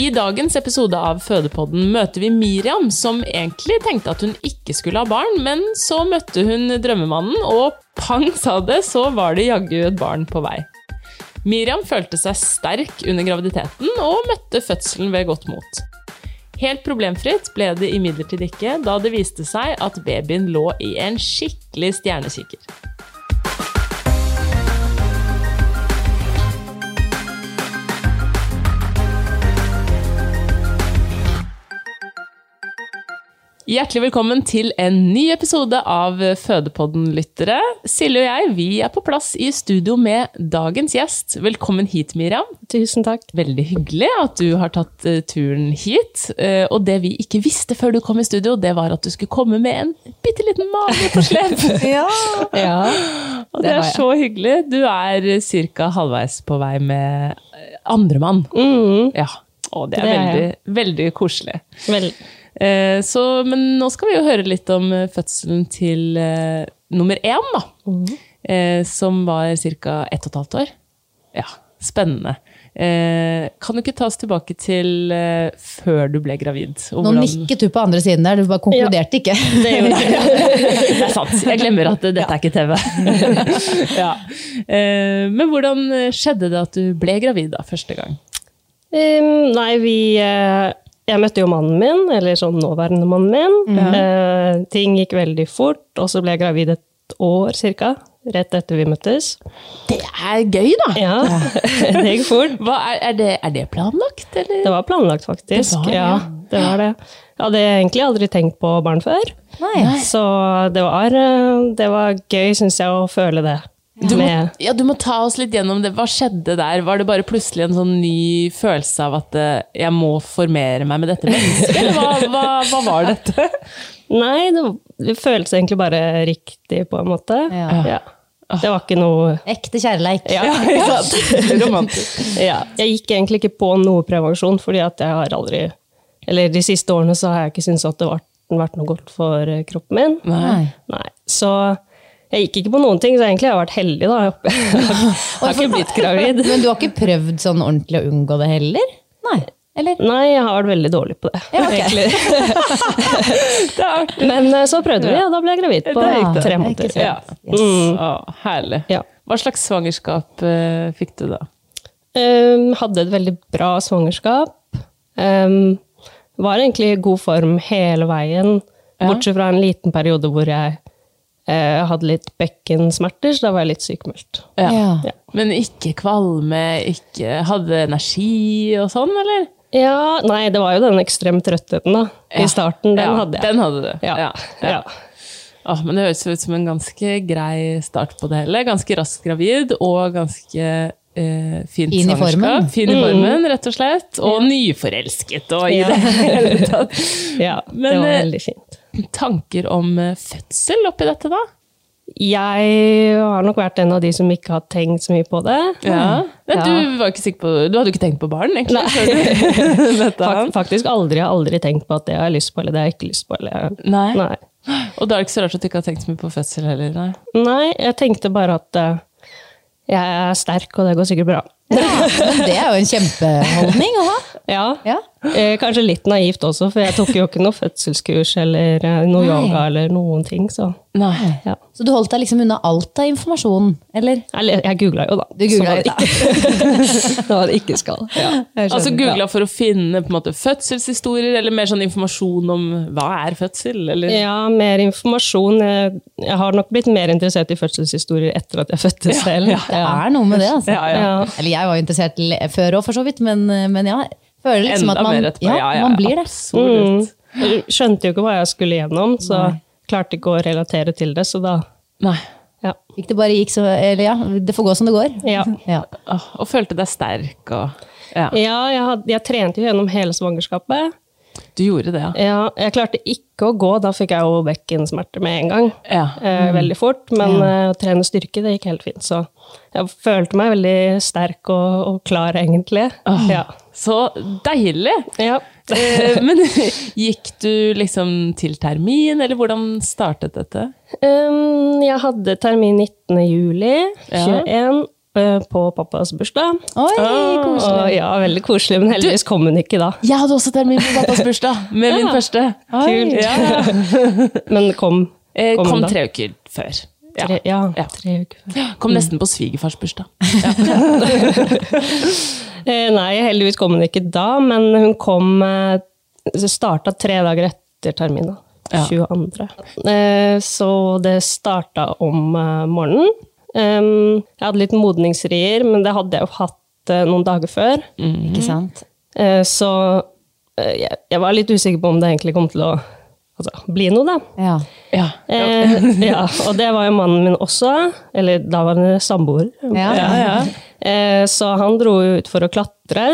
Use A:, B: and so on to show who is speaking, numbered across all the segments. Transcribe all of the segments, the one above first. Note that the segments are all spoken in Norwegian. A: I dagens episode av Fødepodden møter vi Miriam, som egentlig tenkte at hun ikke skulle ha barn, men så møtte hun drømmemannen, og pang sa det, så var det jaggu et barn på vei. Miriam følte seg sterk under graviditeten og møtte fødselen ved godt mot. Helt problemfritt ble det imidlertid ikke, da det viste seg at babyen lå i en skikkelig stjernekikker. Hjertelig velkommen til en ny episode av Fødepodden-lyttere. Silje og jeg vi er på plass i studio med dagens gjest. Velkommen hit, Miriam.
B: Tusen takk.
A: Veldig hyggelig at du har tatt eh, turen hit. Eh, Og det vi ikke visste før du kom i studio, det var at du skulle komme med en bitte liten mage på slep.
B: Ja.
A: Og det
B: har
A: er
B: jeg.
A: så hyggelig. Du er ca. halvveis på vei med eh, andremann. Ja. Og det er,
B: Det er
A: veldig,
B: jeg.
A: veldig koselig.
B: Vel,
A: Eh, Så, men nå skal vi jo høre litt om eh, fødselen til eh, nummer én, da. Eh, som var ca. ett og et halvt år. Ja, spennende. Eh, kan du ikke ta oss tilbake til eh, før du ble gravid? og
C: Nå
A: hvordan-
C: nikket du på andre siden der, du bare konkluderte ikke.
B: det gjorde jeg.
A: Det er sant. Jeg glemmer at eh, dette er ikke TV. ja. eh, men hvordan eh, skjedde det at du ble gravid da, første gang?
B: Um, nei, vi eh, Jeg møtte jo mannen min, eller sånn nåværende mannen min. Eh, ting gikk veldig fort, og så ble jeg gravid et år cirka. Rett etter vi møttes.
A: Det er gøy, da!
B: Ja, det gikk fort.
A: Hva, er, er, det, er det planlagt, eller?
B: Det var planlagt, faktisk.
A: Det var det,
B: ja.
A: ja.
B: det var det. Jeg hadde egentlig aldri tenkt på barn før.
A: Nei.
B: Så det var, eh, det var gøy, syns jeg, å føle det.
A: Du må,
B: Med-
A: ja, du må ta oss litt gjennom det. Hva skjedde der? Var det bare plutselig en sånn ny følelse av at eh, jeg må formere meg med dette mennesket? Eller hva, hva, hva var dette?
B: Nei, det, det føltes egentlig bare riktig, på en måte.
C: Ja.
B: Ja.
A: Ah.
B: Det var ikke noe
C: Ekte kjærleik.
B: Ja,
A: Ja, Romantisk.
B: ja. Jeg gikk egentlig ikke på noe prevensjon, fordi at jeg har aldri Eller de siste årene så har jeg ikke syntes at det har vært noe godt for eh, kroppen min.
A: Nei.
B: Nei. Så jeg gikk ikke på noen ting, så egentlig har jeg vært heldig, da. Jeg har- Jeg har ikke blitt gravid.
C: Men du har ikke prøvd sånn ordentlig å unngå det heller? Nei. Eller?
B: Nei, jeg har vært veldig dårlig på det,
C: Ja, ok.
B: egentlig. Men eh, så prøvde vi, og da ble jeg gravid på
A: gikk det.
B: tre måneder. Mm.
C: sant.
A: Ja.
C: Yes.
A: Å, herlig.
B: Ja.
A: Hva slags svangerskap eh, fikk du da?
B: Um, hadde et veldig bra svangerskap. Um, var egentlig i god form hele veien, bortsett fra en liten periode hvor jeg eh, hadde litt bekkensmerter, så da var jeg litt sykemeldt.
C: Ja.
A: Men ikke kvalme, ikke hadde energi og sånn, eller?
B: Ja, nei, det var jo den ekstreme trøttheten da,
A: Ja.
B: i starten. Den
A: ja,
B: hadde jeg.
A: Den hadde du.
B: Ja.
A: Ja.
B: Ja.
A: Åh, men det høres ut som en ganske grei start på det hele. Ganske raskt gravid og ganske eh, fint
C: Fin i
A: svangerskap.
C: formen.
A: Fin i formen, rett og slett. Og nyforelsket og i det hele tatt.
B: Ja,
A: Men,
B: det var
A: eh,
B: veldig fint.
A: tanker om eh, fødsel oppi dette, da?
B: Jeg har nok vært en av de som ikke har tenkt så mye på det.
A: Men du var ikke sikker på Du hadde jo ikke tenkt på barn, egentlig?
B: Nei.
A: før du møtte
B: Fak
A: han.
B: faktisk aldri, jeg har aldri tenkt på at det har jeg lyst på, eller det har jeg ikke lyst på. Eller...
A: Nei.
B: Nei.
A: Og da er det ikke så rart at du ikke har tenkt så mye på fødsel heller. Nei.
B: Nei, jeg tenkte bare at eh, jeg er sterk, og det går sikkert bra.
C: Men det er jo en kjempeholdning å ha.
B: Ja.
C: Ja.
B: Eh, kanskje litt naivt også, for jeg tok jo ikke noe fødselskurs eller eh, noe yoga eller noen ting, så
A: Nei.
B: ja.
C: Så du holdt deg liksom unna alt av informasjon, eller?
B: Eller jeg googla jo, da.
C: Du googla
B: jo,
C: jo, da.
B: Nå var det ikke skal. Ja, jeg skjønner.
A: Altså
B: Ja.
A: googla for å finne på en måte fødselshistorier, eller mer sånn informasjon om hva er fødsel? Eller?
B: Ja, mer informasjon. Jeg, jeg har nok blitt mer interessert i fødselshistorier etter at jeg fødte selv.
C: Det er noe med det, altså.
A: Ja, ja.
B: Ja.
C: Eller jeg var jo interessert l- før òg, for så vidt, men, men ja. Føler liksom
A: Enda
C: at man,
A: mer etterpå.
C: ja,
A: Ja, ja,
C: man blir det.
A: Absolutt. Mm.
B: Jeg skjønte jo ikke hva jeg skulle gjennom, så klarte ikke å relatere til det, så da
A: Nei.
B: ja.
C: Ikke det bare gikk så Eller ja, det får gå som det går.
B: Ja,
C: Ja.
A: Åh, Og følte deg sterk og ja.
B: ja jeg, hadde, jeg trente jo gjennom hele svangerskapet.
A: Du gjorde det, ja.
B: Ja, jeg klarte ikke å gå, da fikk jeg jo bekkensmerter med en gang.
A: ja.
B: Eh, veldig fort, men eh, å trene styrke, det gikk helt fint. Så jeg følte meg veldig sterk og, og klar, egentlig. Ja.
A: Så deilig!
B: ja.
A: Eh, Men gikk du liksom til termin, eller hvordan startet dette?
B: Um, jeg hadde termin 19. juli 21 eh, på pappas bursdag.
C: Oi,
B: Og,
C: koselig.
B: ja, veldig koselig, men heldigvis kom hun ikke da.
A: Jeg hadde også termin på pappas bursdag, med min første.
B: Kult.
A: Ja.
B: Men kom,
A: Eh,
B: Kom
A: Kom
B: da.
A: tre uker før. Ja.
B: tre, ja,
A: Ja.
B: tre uker før.
A: Kom nesten på svigerfars bursdag.
B: Eh, nei, heldigvis kom hun ikke da, men hun kom eh, Starta tre dager etter termin, da.
A: Ja.
B: 22. Eh, så det starta om eh, morgenen. Em, jeg hadde litt modningsrier, men det hadde jeg jo hatt eh, noen dager før.
A: Mhm.
C: Ikke sant?
B: Eh, Så eh, jeg, jeg var litt usikker på om det egentlig kom til å altså, bli noe, da.
C: Ja.
A: Ja.
B: Eh, ja, og det var jo mannen min også. Eller da var han samboer.
C: Ja.
B: Eh, så han dro jo ut for å klatre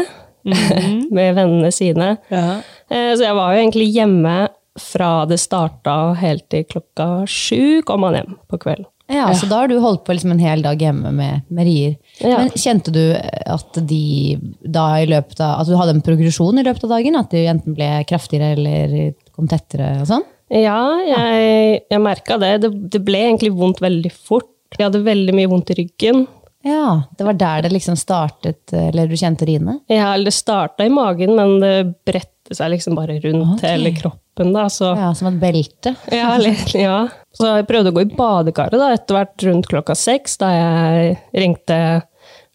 B: med vennene sine. Eh, så jeg var jo egentlig hjemme fra det starta helt til klokka sju kom han hjem på kvelden.
C: Ja, Så da har du holdt på liksom en hel dag hjemme med, med rier.
B: Ja.
C: Men kjente du at de da i løpet av At du hadde en progresjon i løpet av dagen? At de enten ble kraftigere eller kom tettere og sånn?
B: Ja, jeg, jeg merka det. det. Det ble egentlig vondt veldig fort. Jeg hadde veldig mye vondt i ryggen.
C: Ja. Det var der det liksom startet, eller du kjente riene?
B: Ja, eller det starta i magen, men det bredte seg liksom bare rundt
C: Ok.
B: hele kroppen. da, så...
C: Ja, som et belte?
B: Ja, litt, ja. Så jeg prøvde å gå i badekaret da, etter hvert rundt klokka seks, da jeg ringte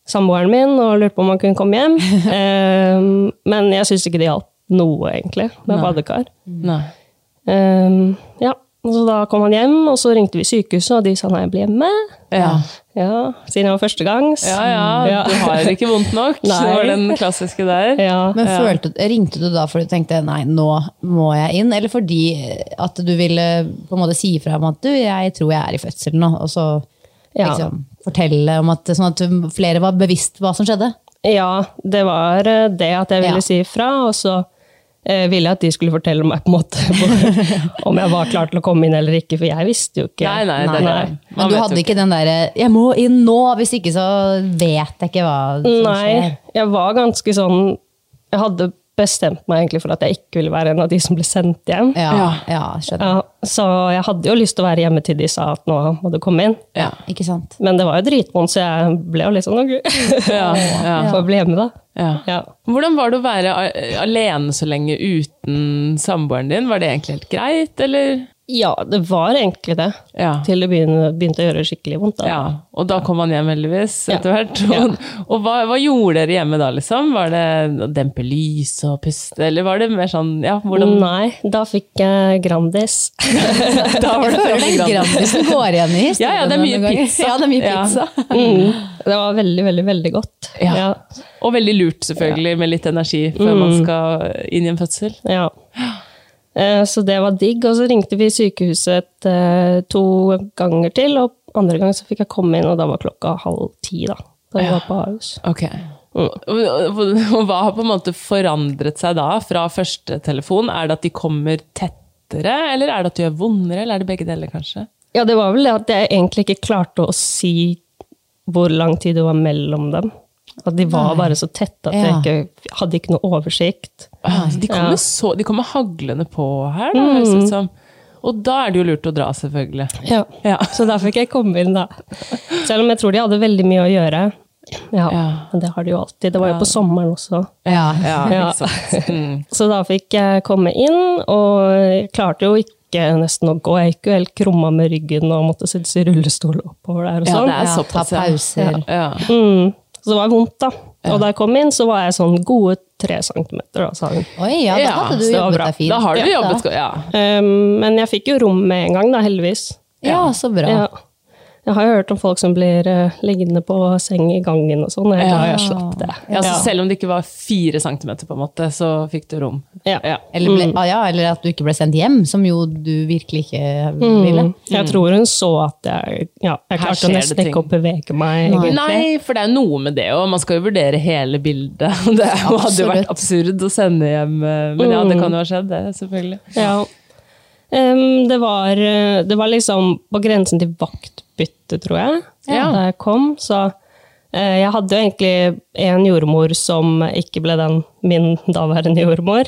B: samboeren min og lurte på om han kunne komme hjem. Ehm, men jeg syns ikke det hjalp noe, egentlig, med badekar.
A: Nei.
B: Ehm, ja. Så da kom han hjem, og så ringte vi sykehuset, og de sa nei, bli hjemme.
A: Ja.
B: Ja, Siden jeg var førstegangs.
A: Ja, ja, du har ikke vondt nok. Det
B: Nei.
A: var den klassiske der.
B: Ja.
C: Men følte, Ringte du da fordi du tenkte nei, nå må jeg inn, eller fordi at du ville på en måte si ifra om at du, jeg tror jeg er i fødsel nå, og så
B: Ja.
C: liksom fortelle om at, sånn at flere var bevisst hva som skjedde?
B: Ja, det var eh, det at jeg ville
C: Ja.
B: si ifra, og så eh, ville jeg at de skulle fortelle meg på en måte hvor- om jeg var klar til å komme inn eller ikke, for jeg visste jo ikke.
A: Nei, nei, det er det. Man
C: Men du
A: vet jo
C: hadde ikke den derre 'jeg må inn nå', hvis ikke så vet jeg ikke hva som skjer.
B: Nei, jeg var ganske sånn Jeg hadde bestemt meg egentlig for at jeg ikke ville være en av de som ble sendt hjem.
C: Ja, ja. skjønner.
B: Ja, så jeg hadde jo lyst til å være hjemme til de sa at nå må du komme inn.
A: Ja.
C: Ikke sant.
B: Men det var jo dritvondt, så jeg ble jo litt sånn «Å, gud,
A: Ja, ja,
B: Får bli hjemme, da.
A: ja.
B: Ja.
A: Hvordan var det å være a- alene så lenge uten samboeren din? Var det egentlig helt greit, eller?
B: ja, det var egentlig det.
A: Ja.
B: Til det begynte, begynte å gjøre skikkelig vondt. Da.
A: Ja, og da kom han hjem heldigvis
B: Ja.
A: etter hvert. Og, og hva, hva gjorde dere hjemme da, liksom? Var det å dempe lys og puste, eller var det mer sånn, ja, hvordan
B: Nei, da fikk jeg Grandis.
A: da var
C: Jeg
A: det
C: føler den Grandisen går igjen i historien.
A: Ja, ja, det er mye
C: noen ganger.
A: pizza.
C: Ja, det er mye
A: Ja.
C: pizza.
B: Det var veldig, veldig veldig godt.
A: Ja.
B: Ja,
A: Og veldig lurt, selvfølgelig, med litt energi før man skal inn i en fødsel.
B: ja. Eh, Så det var digg. Og så ringte vi sykehuset eh, to ganger til, og andre gang så fikk jeg komme inn, og da var klokka halv ti. da. Da vi var på Ahus.
A: Ok. Og, og, og hva har på en måte forandret seg da, fra første telefon? Er det at de kommer tett lettere, eller er det at du gjør vondere, eller er det begge deler, kanskje?
B: Ja, det var vel det at jeg egentlig ikke klarte å si hvor lang tid det var mellom dem. At de var bare så tette at jeg
C: Ja.
B: ikke, hadde ikke noe oversikt.
A: Ah, så De kommer, så, de kommer haglende på her, da, høres det ut som. Og da er det jo lurt å dra, selvfølgelig.
B: Ja.
A: Ja.
B: Så da fikk jeg komme inn, da. Selv om jeg tror de hadde veldig mye å gjøre. Ja,
A: Ja.
B: Men det har de jo alltid. Det var jo på sommeren også.
C: Ja.
B: Ja.
A: ikke sant? Mm.
B: Så da fikk jeg komme inn, og jeg klarte jo ikke nesten å gå. Jeg gikk jo helt krumma med ryggen og måtte sittes i rullestol oppover der og
A: Ja,
B: sånn.
A: det er
C: Ja, ta
A: såpass, ja.
C: pauser.
A: Ja.
B: Mm. Så det var vondt, da. Og da jeg kom inn, så var jeg sånn gode tre centimeter, da, sa hun.
C: Oi, ja, da hadde du
B: så det var
C: jobbet
B: bra.
C: deg fint.
A: Da har du
C: Ja.
A: jobbet godt. Ja.
B: Um, men jeg fikk jo rom med en gang, da, heldigvis.
C: Ja, så bra.
B: Ja. Jeg har jo hørt om folk som blir eh, liggende på seng i gangen og sånn. og Jeg er glad jeg slapp det.
A: Ja, så selv om det ikke var fire centimeter, på en måte, så fikk du rom.
B: Ja.
A: Ja.
C: Eller, ble, ah, ja, eller at du ikke ble sendt hjem, som jo du virkelig ikke
A: Mm.
C: ville.
B: Jeg tror hun så at jeg ja, Jeg
A: Her
B: klarte
A: skjer det
B: nesten
A: ting.
B: ikke å bevege meg. egentlig.
A: Nei, for det er jo noe med det, og man skal jo vurdere hele bildet. Det er jo- hadde jo vært absurd å sende hjem, eh, men ja, det kan jo ha skjedd, det, selvfølgelig.
B: Ja. Em, det, var, eh, det var liksom på grensen til vaktbytte, tror jeg,
A: Ja.
B: da jeg kom. Så eh, jeg hadde jo egentlig en jordmor som ikke ble den min daværende jordmor.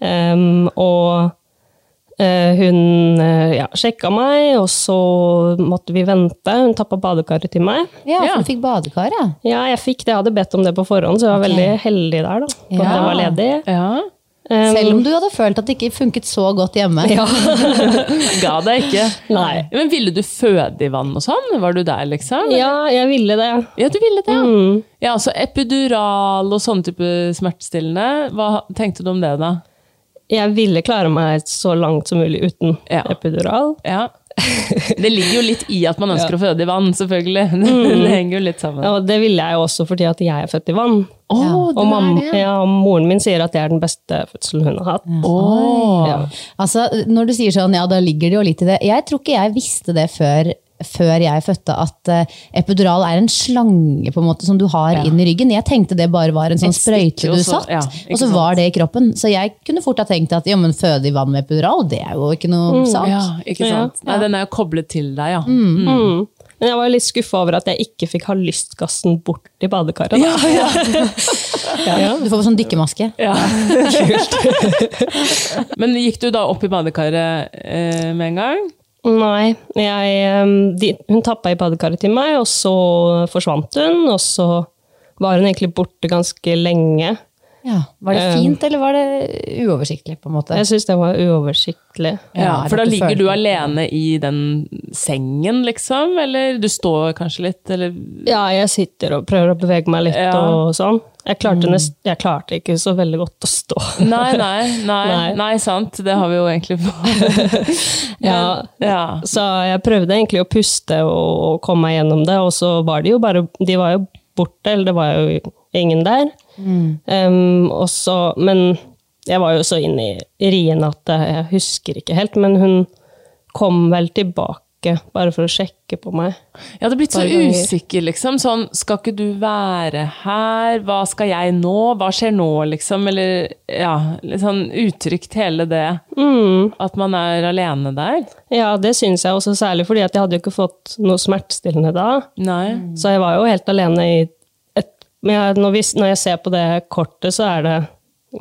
B: Em, og eh, hun eh, ja, sjekka meg, og så måtte vi vente. Hun tappa badekaret til meg.
C: Ja, for du fikk badekar, ja.
B: Ja, jeg fikk det. Jeg hadde bedt om det på forhånd, så jeg var veldig heldig der, da. På at jeg var ledig.
A: Ja. Um,
B: Em,
C: Selv om du hadde følt at det ikke funket så godt hjemme.
A: Ga deg ikke.
B: Nei.
A: Men ville du føde i vann og sånn? Var du der, liksom?
B: ja, Mm. jeg ville det.
A: Ja, du ville det, ja. Ja, altså epidural og sånne type smertestillende. Hva tenkte du om det, da?
B: jeg ville klare meg så langt som mulig uten
A: Ja.
B: epidural.
A: Ja. Det ligger jo litt i at man ønsker å føde i vann, selvfølgelig.
B: Mm.
A: Det henger jo litt sammen.
B: Og det ville jeg jo også fordi at jeg er født i vann.
A: Å,
B: Og mam- ja, moren min sier at det er den beste fødselen hun har hatt.
A: Åh.
B: Ja.
C: Altså, Når du sier sånn, ja, da ligger det jo litt i det. Jeg tror ikke jeg visste det før, før jeg fødte, at eh, epidural er en slange på en måte som du har inn i ryggen. Jeg tenkte det bare var en sånn
A: Et stikke,
C: sprøyte
A: og
C: du
A: så-
C: satt,
A: ja, ikke
C: og så var det i kroppen. Så jeg kunne fort ha tenkt at ja, men føde i vann med epidural, det er jo ikke noe sak.
A: Mm, Ja, ikke sant? Nei, den er jo koblet til deg, ja.
B: Mm. Men jeg var jo litt skuffa over at jeg ikke fikk ha lystgassen bort i badekaret. Da.
C: Du får sånn dykkermaske.
A: Men gikk du da opp i badekaret eh, med en gang?
B: Nei, jeg, em, de, hun tappa i badekaret til meg, og så forsvant hun. Og så var hun egentlig borte ganske lenge.
C: Ja. Var
A: Eh,
C: det fint, eller var det uoversiktlig? på en måte?
B: Jeg syns det var uoversiktlig.
C: Ja,
A: For da
C: at du
A: ligger du
C: følte-
A: alene i den sengen, liksom? Eller du står kanskje litt, eller
B: Ja, jeg sitter og prøver å bevege meg litt
A: Ja. Mm.
B: og sånn. Jeg klarte, nest, jeg klarte ikke så veldig godt å stå.
A: Nei, nei, nei, nei,
B: Nei.
A: sant. Det har vi jo egentlig
B: Ja,
A: Ja.
B: så jeg prøvde egentlig å puste og, og komme meg gjennom det, og så var de jo bare De var jo borte, eller det var jo ingen der.
A: Mm.
B: Em, og så, men jeg var jo så inne i rien at jeg husker ikke helt, men hun kom vel tilbake bare for å sjekke på meg.
A: Jeg hadde blitt så
B: Bare ganger.
A: usikker, liksom. Sånn, skal ikke du være her? Hva skal jeg nå? Hva skjer nå, liksom? Eller ja, litt sånn utrygt hele det.
B: Mm.
A: At man er alene der.
B: Ja, det syns jeg også, særlig fordi at jeg hadde jo ikke fått noe smertestillende da.
A: Nei.
B: Så jeg var jo helt alene i et Men jeg, når, vi, når jeg ser på det kortet, så er det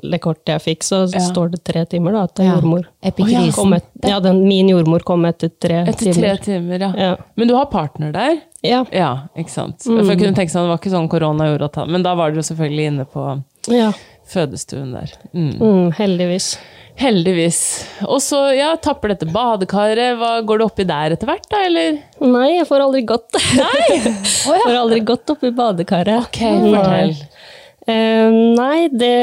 B: det kortet jeg fikk, så står det tre timer, da, at det er
C: Ja.
B: jordmor.
C: Epikrisen.
B: Kom et, ja, den, min jordmor kom etter tre
A: Etter tre
B: timer.
A: timer, ja.
B: Ja.
A: Men du har partner der?
B: Ja.
A: Ja, ikke sant. For jeg kunne tenke sånn, Det var ikke sånn korona gjorde at han Men da var dere jo selvfølgelig inne på
B: ja.
A: fødestuen der. Mm.
B: Mm, heldigvis.
A: Heldigvis. Og så ja, tapper dette badekaret. Hva, går det oppi der etter hvert, da, eller?
B: Nei, jeg får aldri gått. Får aldri gått oppi badekaret.
A: Ok, fortell.
B: Eh, nei, det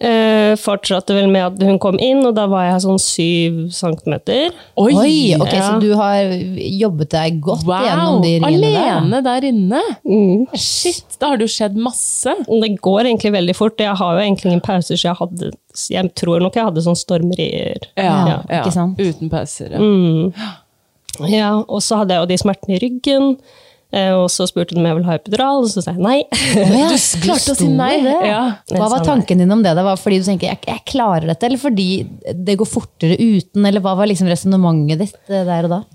B: eh, fortsatte vel med at hun kom inn, og da var jeg sånn syv centimeter.
C: Oi, ok,
B: Ja.
C: Så du har jobbet deg godt gjennom
A: Wow!
C: de riene der? Mm.
A: Alene der inne? Shit, da har det jo skjedd masse.
B: Det går egentlig veldig fort. Jeg har jo egentlig ingen pauser, så jeg, hadde, jeg tror nok jeg hadde sånn stormrier.
C: Ja, ikke sant?
A: Mm. Uten pauser. Ja.
B: Ja, og så hadde jeg jo de smertene i ryggen. Eh, Og så spurte de om jeg ville ha epidural, og så sa jeg nei.
C: ja,
A: Du
C: du
A: klarte å si
C: sto
A: nei.
C: det.
A: Ja.
C: Hva var tanken din om det? da? Var det fordi du tenker jeg, jeg klarer dette, eller fordi det går fortere uten? Eller hva var liksom resonnementet ditt eh, der og da?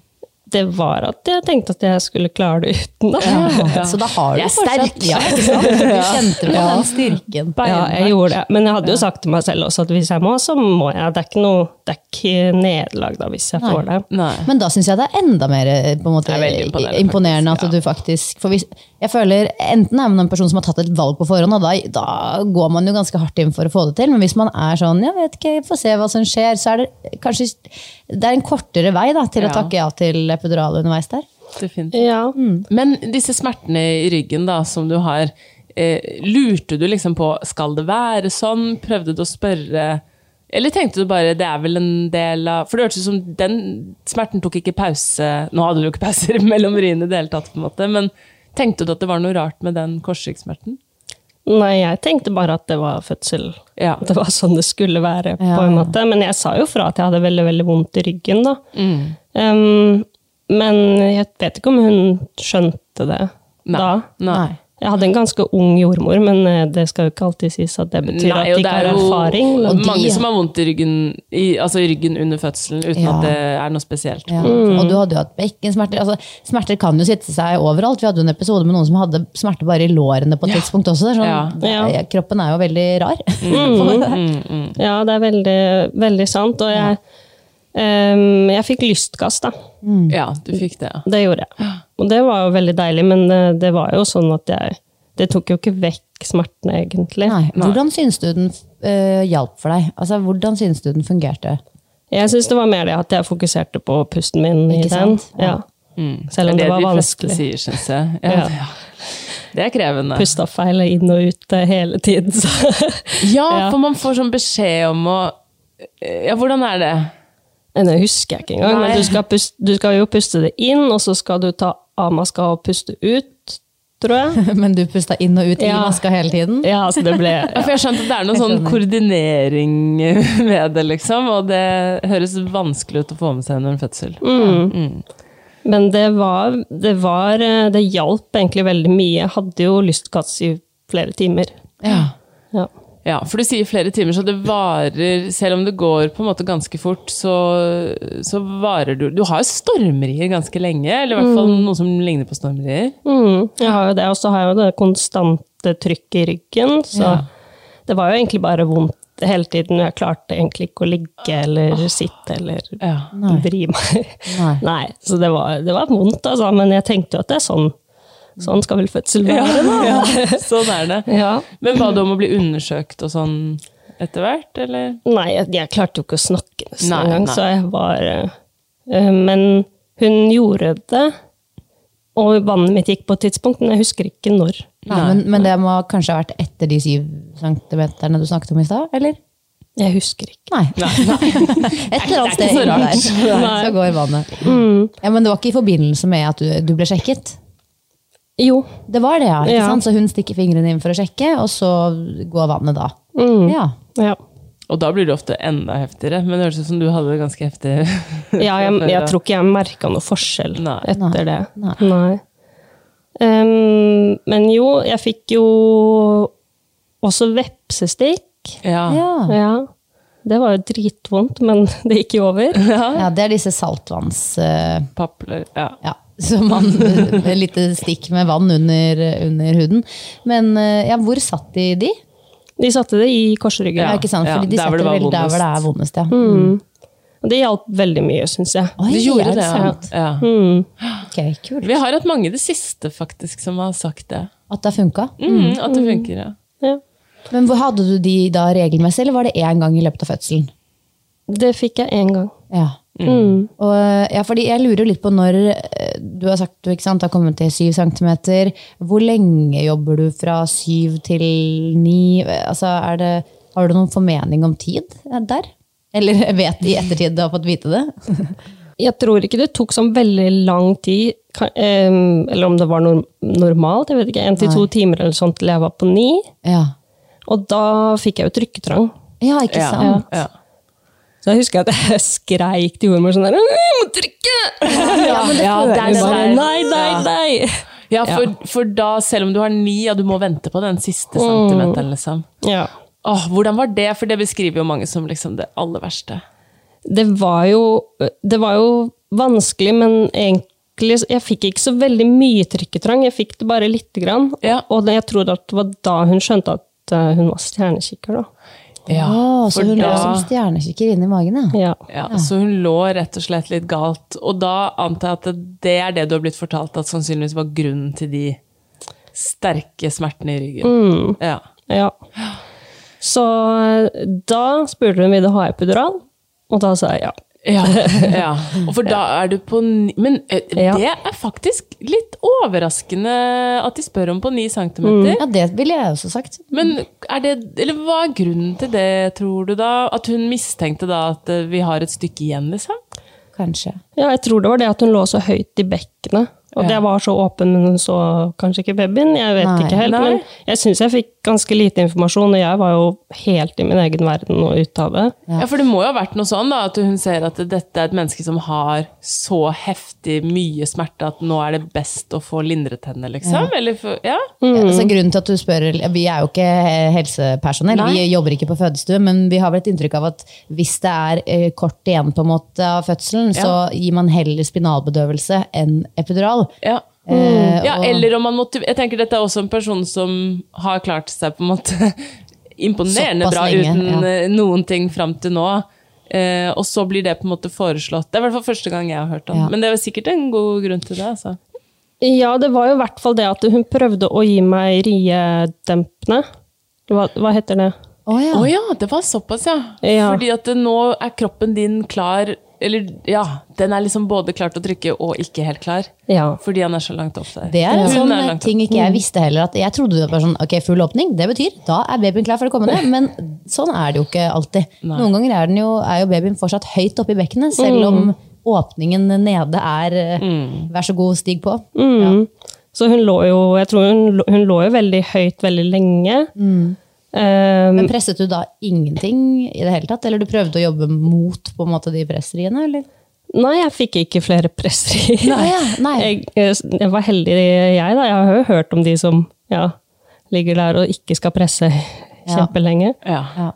B: Det var at jeg tenkte at jeg skulle klare det uten. Da.
C: Så da har du
A: Jeg er sterk.
C: Ja, ikke sant? Du kjente på den styrken.
B: Ja, jeg gjorde det. Men jeg hadde jo sagt til meg selv også at hvis jeg må, så må jeg. Det er ikke noe det er ikke nederlag da, hvis jeg får det.
A: Nei.
C: Men da syns jeg det er enda mer eh, på en måte,
A: Det er veldig imponerende,
C: imponerende at
A: faktisk,
C: du faktisk For hvis, jeg føler enten er man en person som har tatt et valg på forhånd, og da, da går man jo ganske hardt inn for å få det til, men hvis man er sånn jeg vet ikke, få se hva som skjer, så er det kanskje det er en kortere vei da, til
A: Ja.
C: å takke ja til epidural underveis der.
A: Definitivt.
B: Ja.
A: Men disse smertene i ryggen da, som du har, eh, lurte du liksom på skal det være sånn? Prøvde du å spørre? Eller tenkte du bare det er vel en del av For det hørtes ut som den smerten tok ikke pause Nå hadde du jo ikke pauser mellom riene i det hele tatt, på en måte, men tenkte du at det var noe rart med den korsryggsmerten?
B: Nei, jeg tenkte bare at det var fødsel.
A: Ja.
B: At det var sånn det skulle være, på en måte. Men jeg sa jo fra at jeg hadde veldig, veldig vondt i ryggen, da.
A: Mm.
B: Um, men jeg vet ikke om hun skjønte det
A: Nei.
B: da.
A: Nei.
B: Jeg hadde en ganske ung jordmor, men eh, det skal jo ikke alltid sies at det
A: Nei,
B: betyr at de
A: og det
B: ikke
A: er
B: har
A: jo
B: erfaring. men-
A: mange som har vondt i ryggen, i, altså i ryggen under fødselen uten
C: Ja.
A: at det er noe spesielt.
C: Ja. Og du hadde jo hatt bekkensmerter. Altså, smerter kan jo sitte seg overalt. Vi hadde jo en episode med noen som hadde smerter bare i lårene på et tidspunkt også. Det er Sånn,
B: Ja.
C: det- Kroppen er jo veldig rar.
A: Mm.
B: Ja, det er veldig, veldig sant. Og jeg, ehm, jeg fikk lystgass, da.
A: Ja, du fikk det. ja.
B: Det gjorde jeg. Og det var jo veldig deilig, men eh, det var jo sånn at jeg Det tok jo ikke vekk smertene, egentlig.
C: Nei. Hvordan syns du den eh, hjalp for deg? Altså, hvordan syns du den fungerte?
B: Jeg syns det var mer det at jeg fokuserte på pusten min i
C: Ikke
B: den.
C: sant?
B: Ja. Selv om det, var
A: Mm. Det
B: vanskelig.
A: er det de fleste sier, syns jeg. Ja,
B: Ja.
A: ja. Det er krevende.
B: Pusta feil inn og ut eh, hele tiden, så
A: Ja,
B: Ja.
A: for man får sånn beskjed om å eh, Ja, hvordan er det?
B: Nei, Det husker jeg ikke engang.
A: Nei.
B: Men du skal, pust- du skal jo puste det inn, og så skal du ta av maska og puste ut, tror jeg.
C: Men du pusta inn og ut i
B: Ja.
C: maska hele tiden?
B: Ja, altså det ble
A: Ja, for jeg har skjønt at det er noe sånn koordinering med det, liksom. Og det høres vanskelig ut å få med seg under en fødsel.
B: Men det var, det var eh, Det hjalp egentlig veldig mye. Jeg hadde jo lystgass i flere timer.
C: Ja.
B: Ja.
A: Ja, for du sier flere timer, så det varer Selv om det går på en måte ganske fort, så, så varer du Du har jo stormrier ganske lenge, eller i hvert fall noe som ligner på stormrier.
B: Mm, jeg har jo det, og så har jeg jo det konstante trykket i ryggen, så det var jo egentlig bare vondt hele tiden. Jeg klarte egentlig ikke å ligge eller sitte eller
A: Ja.
B: vri meg. Nei.
C: Nei.
B: så det var, det var vondt, altså, men jeg tenkte jo at det er sånn. Sånn skal vel fødsel være,
A: Ja,
B: da.
A: sånn er det.
B: Ja.
A: Men hva da om å bli undersøkt og sånn etter hvert, eller?
B: Nei, jeg, jeg klarte jo ikke å snakke nesten
A: Nei,
B: engang,
A: nei.
B: så jeg var eh, eh, Men hun gjorde det, og vannet mitt gikk på et tidspunkt, men jeg husker ikke når.
C: Nei, men, men det må kanskje ha vært etter de syv centimeterne du snakket om i stad, eller?
B: Jeg husker ikke.
C: Nei. Et eller annet sted
A: så
C: inni der.
A: rart.
C: Så går vannet. Ja, men det var ikke i forbindelse med at du, du ble sjekket?
B: Jo.
C: Det var det, ja. Ikke
B: Ja.
C: sant? Så hun stikker fingrene inn for å sjekke, og så går vannet da. Ja.
B: Ja,
A: Og da blir det ofte enda heftigere, men det høres ut som du hadde det ganske heftig.
B: ja jeg, jeg tror ikke jeg merka noe forskjell
A: Nei.
B: etter det.
C: Nei.
B: Ehm, men jo, jeg fikk jo også vepsestikk.
A: Ja.
C: Ja.
B: Ja. Det var jo dritvondt, men det gikk jo over.
C: ja, det er disse saltvanns... eh,
A: Papler, ja.
C: Ja, så man Et lite stikk med vann under, under huden. Men eh, ja, hvor satt de de?
B: De satte det i korsryggen.
C: Ja, ikke sant?
A: ja,
C: Fordi de
A: der hvor
C: setter
A: det var
C: vel der hvor det er vondest. Ja.
B: Og det hjalp veldig mye, syns jeg.
C: Oi,
A: Du
C: er
A: gjorde det, ja.
C: sant?
A: ja.
C: Ok, kult.
A: Vi har hatt mange i det siste, faktisk, som har sagt det.
C: At det har funka.
A: Mm, at det funker, ja.
B: Ja.
C: Men hvor hadde du de da regelmessig, eller var det én gang i løpet av fødselen?
B: Det fikk jeg én gang.
C: Ja.
A: Mm.
C: Og, ja, fordi jeg lurer jo litt på når eh, du har sagt du ikke sant, har kommet til syv centimeter. Hvor lenge jobber du fra syv til ni? Altså, er det, har du noen formening om tid eh, der? Eller jeg vet i ettertid du har fått vite det?
B: Jeg tror ikke det tok sånn veldig lang tid, kan- ehm, eller om det var norm normalt, jeg vet ikke, en til to timer eller sånn til jeg var på ni.
C: Ja,
B: Og da fikk jeg jo trykketrang.
C: ja ikke
A: Ja,
C: sant?
A: ja.
B: Så jeg husker at jeg skreik til jordmor sånn der, «Jeg må trykke!
C: Ja, men det
A: Ja,
C: føles
A: det er det
B: Hun bare,
A: der.
B: nei, nei, nei!
A: Ja, for, for da, selv om du har ni, ja, du må vente på den siste centimeteren, liksom.
B: Ja.
A: Åh, hvordan var det? For det beskriver jo mange som liksom det aller verste.
B: Det var jo Det var jo vanskelig, men egentlig Jeg fikk ikke så veldig mye trykketrang, jeg fikk det bare lite grann.
A: Ja.
B: Og det, jeg tror at det var da hun skjønte at eh, hun var stjernekikker, da.
A: Ja,
C: Å, så
A: for
C: hun lå
A: da-
C: som stjernekikker inni magen,
B: Ja.
C: ja.
A: Ja, Så hun lå rett og slett litt galt. Og da antar jeg at det- det er det du har blitt fortalt at sannsynligvis var grunnen til de sterke smertene i ryggen. Ja.
B: Ja. Så eh, da spurte hun om jeg ville ha epidural, og da sa jeg ja.
A: Ja, ja. Og for da er du på ni Men eh,
B: Ja.
A: det er faktisk litt overraskende at de spør om på ni centimeter.
C: Ja, det ville jeg også sagt.
A: Men er det, eller hva er grunnen til det, tror du da? At hun mistenkte da at eh, vi har et stykke igjen, liksom?
C: Kanskje.
B: Ja, jeg tror det var det at hun lå så høyt i bekkenet. Og det var så åpen, men hun så kanskje ikke babyen. Jeg vet
C: Nei.
B: ikke helt,
A: Nei.
B: men jeg syns jeg fikk ganske lite informasjon, og jeg var jo helt i min egen verden og ute av det.
A: Ja. for det må jo ha vært noe sånn da, at hun ser at dette er et menneske som har så heftig mye smerte at nå er det best å få lindret henne, liksom? Eller for, ja?
C: Ja, altså,
A: Mm.
C: grunnen til at du spør, Vi er jo ikke eh, helsepersonell,
A: Nei.
C: vi jobber ikke på fødestue, men vi har vel et inntrykk av at hvis det er eh, kort igjen på en måte av fødselen, så gir man heller spinalbedøvelse enn epidural.
A: Ja.
C: Eh,
A: Mm. ja,
C: og-
A: eller om man motiv- Jeg tenker dette er også en person som har klart seg på en måte imponerende
C: Såpass
A: bra
C: lenge,
A: uten
C: ja.
A: eh, noen ting fram til nå. Eh, og så blir det på en måte foreslått. Det er i hvert fall første gang jeg har hørt om.
C: Ja.
A: Men det er sikkert en god grunn til det. Altså.
B: Ja, det var jo i hvert fall det at hun prøvde å gi meg riedempende. Hva, hva heter det?
C: Å ja.
A: Å ja, det var såpass, ja.
B: Ja.
A: Fordi at det, nå er kroppen din klar Eller ja, den er liksom både klar til å trykke og ikke helt klar.
B: Ja.
A: Fordi han er så langt opp der.
C: Det er en
A: Hun
C: sånn
A: er langt Mm.
C: ting ikke jeg visste heller. At jeg trodde det var sånn, ok, full åpning, det betyr da er babyen klar for å komme ned. Men sånn er det jo ikke alltid. Noen ganger er, den jo, er jo babyen fortsatt høyt oppe i bekkenet, selv
A: Mm.
C: om åpningen nede er eh, vær så god, stig på.
B: Så hun lå jo Jeg tror hun, lå- hun lå jo veldig høyt veldig lenge. Eh,
C: Men presset du da ingenting i det hele tatt? Eller du prøvde å jobbe mot på en måte de presseriene, eller?
B: nei, jeg fikk ikke flere presserier.
C: Å ja, nei.
B: Jeg, eh, jeg var heldig, jeg da. Jeg har jo hørt om de som ja, ligger der og ikke skal presse kjempelenge.
A: Ja.
C: Ja.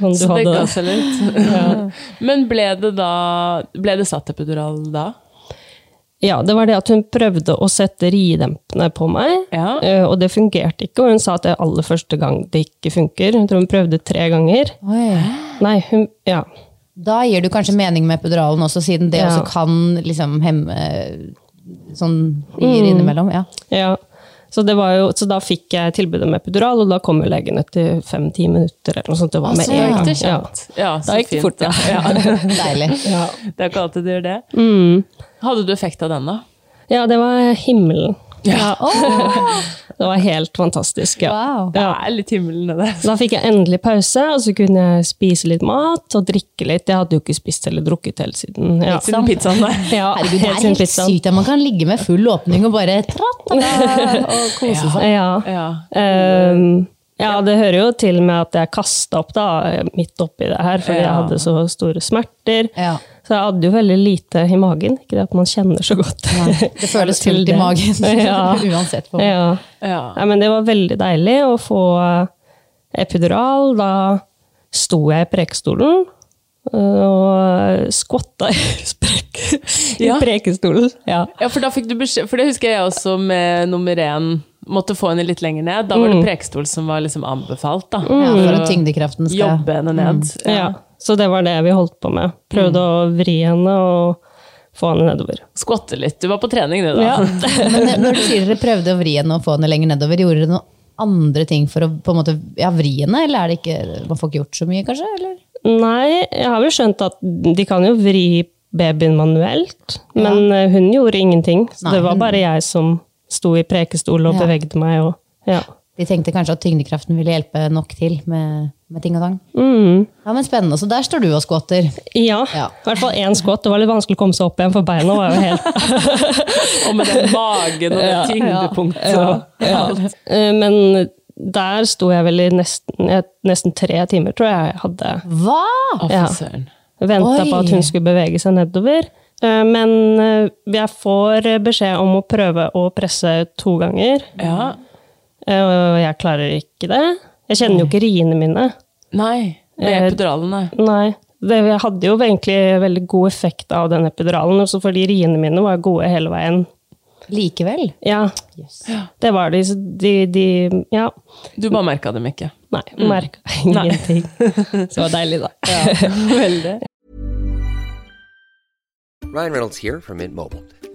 B: Som du
A: Så det
B: hadde.
A: ga seg litt. Men ble det da Ble det satt epidural da?
B: Ja, det var det at hun prøvde å sette riedempene på meg,
A: Ja.
B: eh, og det fungerte ikke. Og hun sa at det er aller første gang det ikke funker. Hun tror hun prøvde tre ganger. Nei, hun Ja.
C: Da gir du kanskje mening med epiduralen også, siden det
B: Ja.
C: også kan liksom hemme sånn
B: Mm.
C: gir innimellom. Ja.
B: ja. Så, det var jo, så da fikk jeg tilbud om epidural, og da kom jo legen etter fem-ti minutter. eller noe sånt. Det var med
A: Så
B: en
A: gikk
B: gang.
A: det kjapt.
B: Ja.
A: Ja, så
B: Da gikk det
A: fint,
B: fort, ja.
A: ja.
C: Deilig.
A: Det er ikke alltid du gjør det.
B: Mm.
A: Hadde du effekt av den, da?
B: ja, det var himmelen.
A: Ja.
B: Det var helt fantastisk. ja.
C: Wow.
A: Det
B: ja.
A: er litt himmelen i det.
B: Så Da fikk jeg endelig pause, og så kunne jeg spise litt mat og drikke litt. Jeg hadde jo ikke spist eller drukket helt siden. Ja.
A: Siden pizzaen der.
B: Ja,
C: Herregud, det
B: helt
C: er
B: siden
C: helt
B: pizzaen.
C: sykt at man kan ligge med full åpning og bare tratt og kose seg.
B: Ja.
A: Ja.
B: Ehm, ja, det hører jo til med at jeg kasta opp da, midt oppi det her, fordi jeg
A: Ja.
B: hadde så store smerter.
C: Ja.
B: Så jeg hadde jo veldig lite i magen. Ikke det at man kjenner så godt.
C: Det føles
B: Til
C: fullt i
B: det.
C: magen
B: Ja.
C: uansett. På.
B: Ja.
A: Ja.
B: Nei, men det var veldig deilig å få eh, epidural. Da sto jeg i prekestolen eh, og skvatta i, sprek, i
A: Ja.
B: prekestolen. Ja.
A: Ja, for da fikk du beskjed For det husker jeg også med nummer én. Måtte få henne litt lenger ned. Da var
B: Mm.
A: det prekestol som var liksom anbefalt. da.
C: Ja, for at tyngdekraften skal
A: Jobbe henne ned.
B: Mm. Ja. Så det var det vi holdt på med. Prøvde å vri henne og få henne nedover.
A: Skvatte litt. Du var på trening, du, da.
C: Men når du sier dere prøvde å vri henne og få henne lenger nedover, gjorde dere noen andre ting for å på en måte, ja, vri henne? Eller er det ikke, man får ikke gjort så mye, kanskje? Eller?
B: Nei, jeg har vel skjønt at de kan jo vri babyen manuelt, men eh, hun gjorde ingenting. Så
C: Nei,
B: det var
C: hun-
B: bare jeg som sto i prekestol og
C: Ja.
B: bevegde meg. Og, ja.
C: De tenkte kanskje at tyngdekraften ville hjelpe nok til med, med ting og tang.
B: Mm.
C: Ja, men Spennende. Så der står du og skvatter.
B: Ja,
C: Ja.
B: i hvert fall én skvatt. Det var litt vanskelig å komme seg opp igjen, for beina var jo helt
A: Og med den magen og det tyngdepunktet og alt.
B: Eh, Men der sto jeg vel i nesten, eh, nesten tre timer, tror jeg jeg hadde.
C: Hva?!
A: Å,
B: Ja.
A: fy søren.
B: Venta
C: Oi.
B: på at hun skulle bevege seg nedover. Eh, Men eh, jeg får beskjed om å prøve å presse to ganger,
A: Ja.
B: eh, og jeg klarer ikke det. Jeg kjenner jo ikke riene mine.
A: Nei. Det er
B: Eh,
A: epiduralen, nei.
B: Nei. Det, jeg hadde jo egentlig veldig god effekt av den epiduralen, også fordi riene mine var gode hele veien.
C: Likevel.
B: Ja, det var de. så De, de ja.
A: Du bare merka dem ikke.
B: Mm. Nei, merka ingenting. Så det var deilig, da.
A: Veldig.
D: Ryan Reynolds here from Mint Mobile.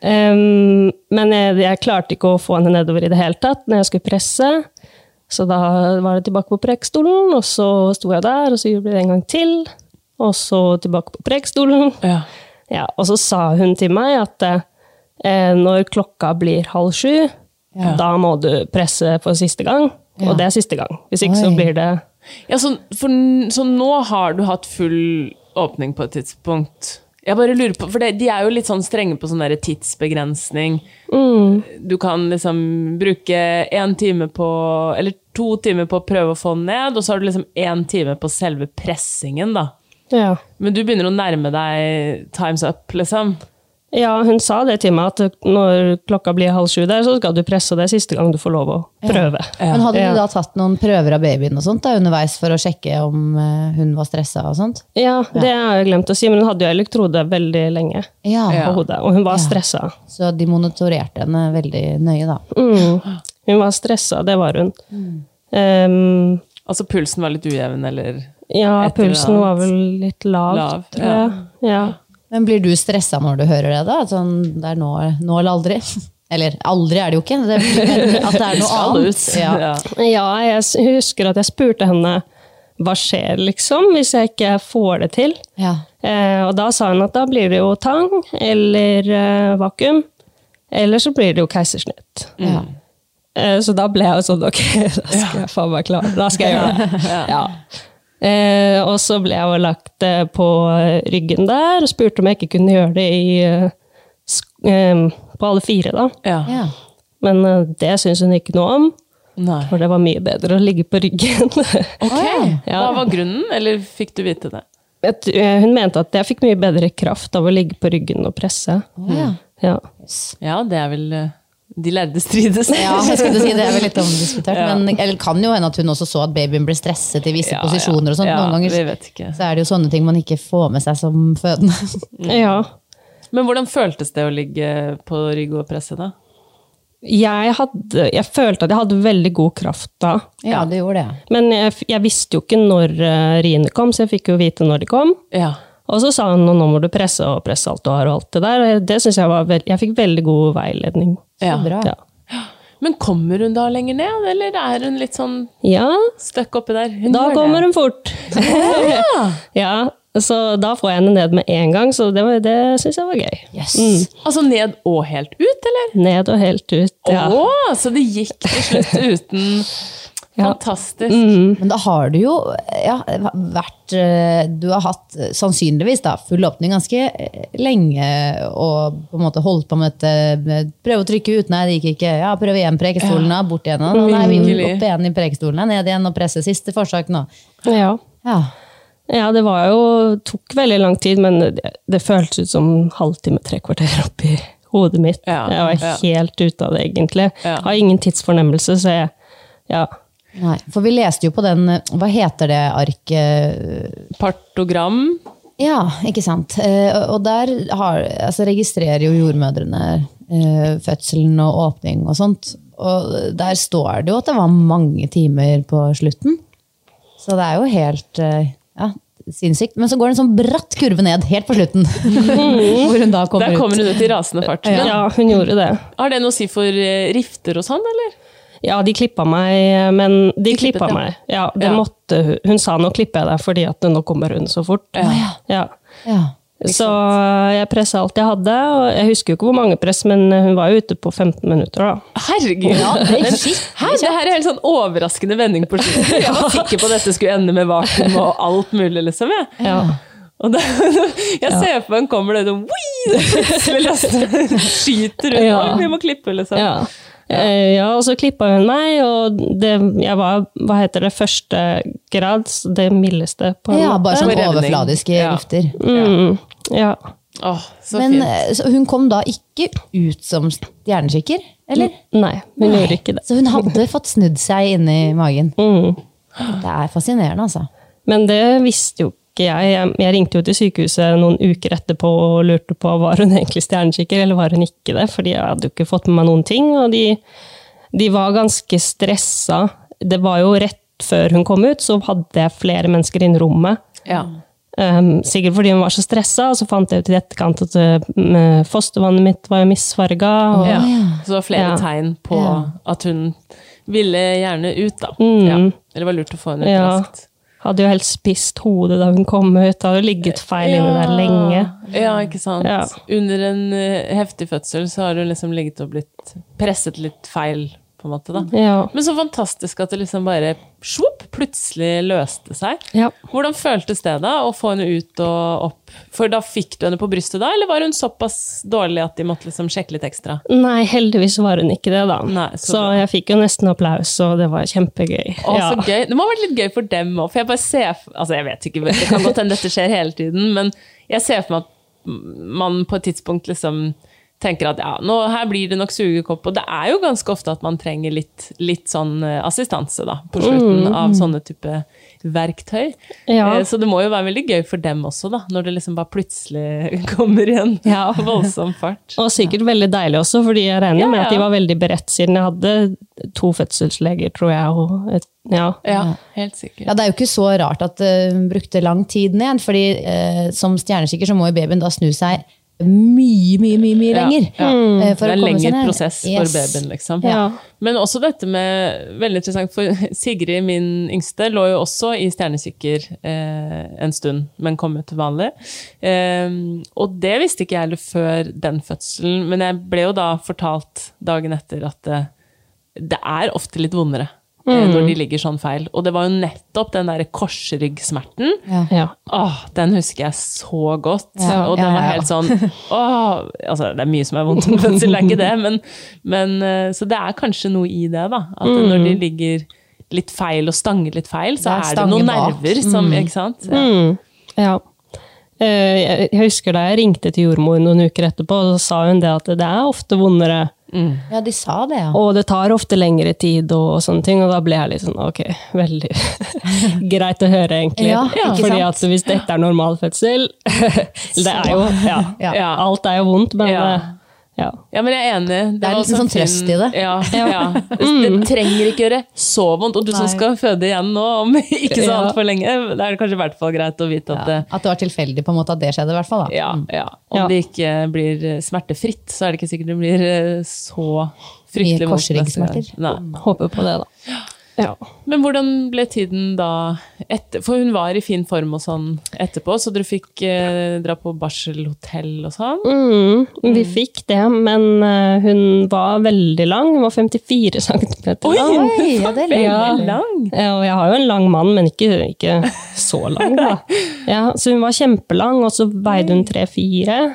B: Em, men jeg, jeg klarte ikke å få henne nedover i det hele tatt når jeg skulle presse. Så da var det tilbake på prekestolen, og så sto jeg der, og så gjorde vi det en gang til. Og så tilbake på prekestolen.
A: Ja.
B: Ja, og så sa hun til meg at eh, når klokka blir halv sju, da må du presse for siste gang. Og det er siste gang. Hvis ikke så
C: Oi.
B: blir det
A: Ja, så, for, så nå har du hatt full åpning på et tidspunkt. Jeg bare lurer på, for det, De er jo litt sånn strenge på sånn der tidsbegrensning. Du kan liksom bruke én time på Eller to timer på å prøve å få den ned, og så har du liksom én time på selve pressingen, da.
B: Ja.
A: Men du begynner å nærme deg times up, liksom.
B: Ja, hun sa det til meg, at når klokka blir halv sju der, så skal du presse, og det er siste gang du får lov å prøve.
C: Men hadde
B: Ja.
C: du da tatt noen prøver av babyen og sånt da, underveis for å sjekke om eh, hun var stressa og sånt?
B: Ja, det har jeg glemt å si, men hun hadde jo elektrode veldig lenge
C: Ja.
B: på hodet, og hun var
C: Ja.
B: stressa.
C: Så de monitorerte henne veldig nøye, da.
B: Hun var stressa, det var hun.
C: Mm.
B: Ehm,
A: Altså pulsen var litt ujevn, eller Et
B: ja,
A: eller
B: pulsen
A: annet.
B: var vel litt lav,
A: Lav,
B: tror jeg. Ja.
C: Men blir du stressa når du hører det, da? Sånn, det er nå, nå eller aldri? Eller aldri er det jo ikke, det blir men at det er noe
A: Skal
C: annet.
A: ut.
C: Ja.
A: Ja.
B: ja, jeg s- husker at jeg spurte henne hva skjer, liksom, hvis jeg ikke får det til.
C: Ja.
B: Eh, og da sa hun at da blir det jo tang eller eh, vakuum, eller så blir det jo keisersnitt.
C: Ja.
A: Mm.
B: Eh, så da ble jeg jo sånn, ok, da skal jeg faen meg klare, da skal jeg gjøre det. Ja. Eh, og så ble jeg jo lagt eh, på ryggen der, og spurte om jeg ikke kunne gjøre det i, eh, sk- eh, på alle fire da.
A: Ja.
C: Ja.
B: Men eh, det syntes hun ikke noe om,
A: Nei.
B: for det var mye bedre å ligge på ryggen.
A: Ok,
B: Ja.
A: Hva var grunnen, eller fikk du vite det?
B: Jeg tr- eh, hun mente at jeg fikk mye bedre kraft av å ligge på ryggen og presse. Ja.
A: Ja, det er vel eh, De lærde strides.
C: Ja, jeg skulle si det er vel litt omdiskutert. Men eller kan jo hende at hun også så at babyen ble stresset i visse
A: Ja,
C: posisjoner og sånt.
A: ja,
C: Noen
A: vi
C: ganger
A: vet ikke.
C: så er det jo sånne ting man ikke får med seg som fødende.
B: ja.
A: Men hvordan føltes det å ligge på rygg og presse, da?
B: Jeg, hadde, jeg følte at jeg hadde veldig god kraft da.
C: Ja, det gjorde det.
B: Men jeg, f- jeg visste jo ikke når eh, riene kom, så jeg fikk jo vite når de kom.
A: Ja.
B: Og så sa hun nå må du presse og presse alt du har og alt det der. Og jeg- det synes jeg var veld, Jeg fikk veldig god veiledning.
A: ja.
C: Bra.
B: Ja.
A: Men kommer hun da lenger ned, eller er hun litt sånn
B: ja,
A: stuck oppi der? Hun
B: da
A: gjør
B: kommer
A: det.
B: hun fort. ja, så da får jeg henne ned med en gang, så det, var- det syns jeg var gøy.
C: Yes.
A: Altså ned og helt ut, eller?
B: Ned og helt ut. Ja.
A: Å, så det gikk til slutt uten Fantastisk.
C: Men da har du jo ja, vært eh, Du har hatt eh, sannsynligvis da, full åpning ganske eh, lenge og på en måte holdt på med dette med prøve å trykke ut, nei, det gikk ikke. Ja, prøv igjen, prekestolen, ja, bort igjen. ja, Nei, vi må
A: Virkelig.
C: opp igjen i prekestolen, ja, ned igjen og presse siste forsøk nå.
B: Ja.
C: Ja.
B: ja, det var jo Tok veldig lang tid, men det, det føltes ut som halvtime, tre kvarter oppi hodet mitt.
A: Ja,
B: jeg var
A: ja.
B: helt ute av det, egentlig.
A: Ja.
B: Har ingen tidsfornemmelse, så jeg ja.
C: Nei, for vi leste jo på den eh, Hva heter det arket?
A: Partogram.
C: Ja, ikke sant. Eh, og- og der har, altså, registrerer jo jordmødrene eh, fødselen og åpning og sånt. Og der står det jo at det var mange timer på slutten. Så det er jo helt eh, ja, sinnssykt. Men så går det en sånn bratt kurve ned helt på slutten. hvor hun da
A: Mhm.
C: kommer,
A: Der kommer
C: ut.
A: hun ut i rasende fart.
B: Ja.
A: Men
B: hun gjorde det.
A: har det noe å si for eh, rifter og sånn, eller?
B: Ja, de klippa meg, men De,
A: klippet
B: klippet
A: deg.
B: meg. Ja, det
A: Ja.
B: måtte hun. Hun sa 'nå klipper jeg deg', fordi at 'nå kommer hun så fort'.
C: Ja.
B: Ja.
C: Ja.
B: Så jeg pressa alt jeg hadde. og Jeg husker jo ikke hvor mange press, men hun var jo ute på 15 minutter. da.
A: Herregud! Men, Hæ, det her er helt sånn overraskende vending på slutten. Jeg var sikker på at dette skulle ende med vakuum og alt mulig, liksom. Jeg. Og da, jeg ser for meg hun kommer der og sånn, «Wii!» plutselig løsner. Skyter ut.
B: Ja.
A: «Oi, Vi må klippe, liksom.
B: Ja. Eh, ja, og så klippa hun meg, og det, jeg var hva heter det, første grads, det mildeste. på en
C: ja,
B: måte.
C: bare sånn
A: Revning.
C: overfladiske
A: Ja.
C: vifter.
B: Mm, ja.
A: Åh, så
C: Men
A: fint.
C: eh, så hun kom da ikke ut som stjernekikker, eller?
B: Nei, hun gjorde ikke det.
C: Så hun hadde fått snudd seg inni magen.
B: Mm.
C: Det er fascinerende, altså.
B: Men det visste jo ikke jeg. jeg. Jeg ringte jo til sykehuset noen uker etterpå og lurte på var hun egentlig stjernekikker eller var hun ikke det, fordi jeg hadde jo ikke fått med meg noen ting. Og de, de var ganske stressa. Det var jo rett før hun kom ut, så hadde jeg flere mennesker inne i rommet.
A: Ja.
B: Um, sikkert fordi hun var så stressa, og så fant jeg ut i etterkant at uh, fostervannet mitt var misfarga. Og,
A: Ja. Så det var flere
B: Ja.
A: tegn på
C: Ja.
A: at hun ville gjerne ut, da.
B: Mm.
A: Ja. Eller det var lurt å få henne ut
B: Ja.
A: raskt.
B: Hadde jo helt spist hodet da hun kom ut. Hadde jo ligget feil inne der lenge.
A: Ja, ikke sant.
B: Ja.
A: Under en eh, heftig fødsel så har hun liksom ligget og blitt presset litt feil, på en måte, da.
B: Ja.
A: Men så fantastisk at det liksom bare svopp, plutselig løste seg.
B: Ja.
A: Hvordan føltes det da, å få henne ut og opp? For da fikk du henne på brystet da, eller var hun såpass dårlig at de måtte liksom sjekke litt ekstra?
B: Nei, heldigvis var hun ikke det, da.
A: Nei,
B: så,
A: så bra.
B: jeg fikk jo nesten applaus, og det var kjempegøy.
A: Å,
B: ja.
A: så gøy. Det må ha vært litt gøy for dem òg, for jeg bare ser for- Altså, jeg vet ikke, det kan godt hende dette skjer hele tiden, men jeg ser for meg at man på et tidspunkt liksom tenker at ja, nå, her blir det nok sugekopp, og det er jo ganske ofte at man trenger litt, litt sånn eh, assistanse, da, på slutten av sånne type verktøy.
B: Mm. Ja.
A: Eh, Så det må jo være veldig gøy for dem også, da, når det liksom bare plutselig kommer i en
B: Ja.
A: voldsom fart.
B: Og sikkert veldig deilig også, fordi jeg regner
A: Ja,
B: med at de
A: ja.
B: var veldig beredt, siden jeg hadde to fødselsleger, tror jeg. Og et, ja.
A: Ja, helt sikkert.
C: Ja, Det er jo ikke så rart at eh, hun brukte lang tid ned, fordi eh, som stjernekikker så må jo babyen da snu seg mye, mye, mye, mye
A: Ja,
C: lenger.
A: ja.
C: eh, for
A: det er en
C: å komme seg
A: lengre
C: ned.
A: prosess
C: Yes.
A: for babyen, liksom.
B: Mm. Ja.
A: Men også dette med Veldig interessant, for Sigrid, min yngste, lå jo også i stjernekikker eh, en stund, men kom ut til vanlig. Eh, og det visste ikke jeg heller før den fødselen, men jeg ble jo da fortalt dagen etter at eh, det er ofte litt vondere. eh, Når de ligger sånn feil. Og det var jo nettopp den der korsryggsmerten
B: Ja.
A: Åh, den husker jeg så godt.
C: Ja,
A: og den
C: ja,
A: var
C: ja.
A: helt sånn åh, altså Det er mye som er vondt med fødsel, det er ikke det, men, men eh, Så det er kanskje noe i det, da. At når de ligger litt feil og stanger litt feil, så
C: Mm. Det er Mm.
A: er, det noen
C: stange bak.
A: nerver som Ikke sant? Ja.
B: ja. Eh, Jeg jeg husker da jeg ringte til jordmor noen uker etterpå, og så sa hun det at det er ofte vondere,
C: Ja, de sa det, ja.
B: og det tar ofte lengre tid og, og sånne ting. Og da ble jeg litt sånn ok, veldig greit å høre, egentlig.
C: Ja, ikke
B: Fordi
C: sant?
B: at hvis dette er normal fødsel Det er jo ja,
C: Ja.
B: ja. Alt er jo vondt, men
A: Ja.
B: eh, ja.
A: Ja, men jeg er enig.
C: Det er
A: var også
C: liksom
A: en
C: sånn trøst i det. Mm.
A: Ja, ja. Det trenger ikke gjøre så vondt. Og du som
C: Nei.
A: skal føde igjen nå om ikke så
B: Ja.
A: altfor lenge, da er det kanskje i hvert fall greit å vite at det
C: At det var tilfeldig på en måte at det skjedde, i hvert fall. da.
A: Ja, ja. Mm. Om
B: Ja.
A: det ikke blir eh, smertefritt, så er det ikke sikkert det blir eh, så fryktelig
C: Mye
A: vondt neste gang.
C: korsryggsmerter.
A: Nei.
B: Håper på det, da. Ja.
A: Men hvordan ble tiden da etter? For hun var i fin form og sånn etterpå, så dere fikk eh, dra på barselhotell og sånn.
B: Mm, vi fikk det, men eh, hun var veldig lang. Hun var 54 cm lang.
C: Oi, ja, det er litt-
B: Ja.
A: Veldig lang!
B: Eh, Og jeg har jo en lang mann, men ikke, ikke så lang, da. Ja, så hun var kjempelang, og så veide hun 3-4.